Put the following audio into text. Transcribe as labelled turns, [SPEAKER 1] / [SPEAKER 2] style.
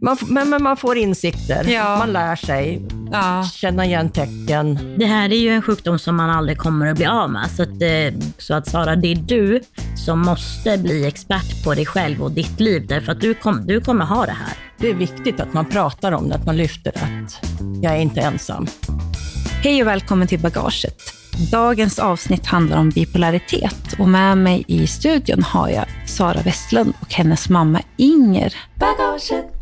[SPEAKER 1] Man, f- men, men man får insikter.
[SPEAKER 2] Ja.
[SPEAKER 1] Man lär sig
[SPEAKER 2] Ja.
[SPEAKER 1] känna igen tecken.
[SPEAKER 3] Det här är ju en sjukdom som man aldrig kommer att bli av med. Så att, eh, så att Sara, det är du som måste bli expert på dig själv och ditt liv. Därför att du, kom, du kommer ha det här.
[SPEAKER 1] Det är viktigt att man pratar om det, att man lyfter att jag är inte ensam.
[SPEAKER 2] Hej och välkommen till Bagaget. Dagens avsnitt handlar om bipolaritet och med mig i studion har jag Sara Westlund och hennes mamma Inger.
[SPEAKER 4] Bagaget,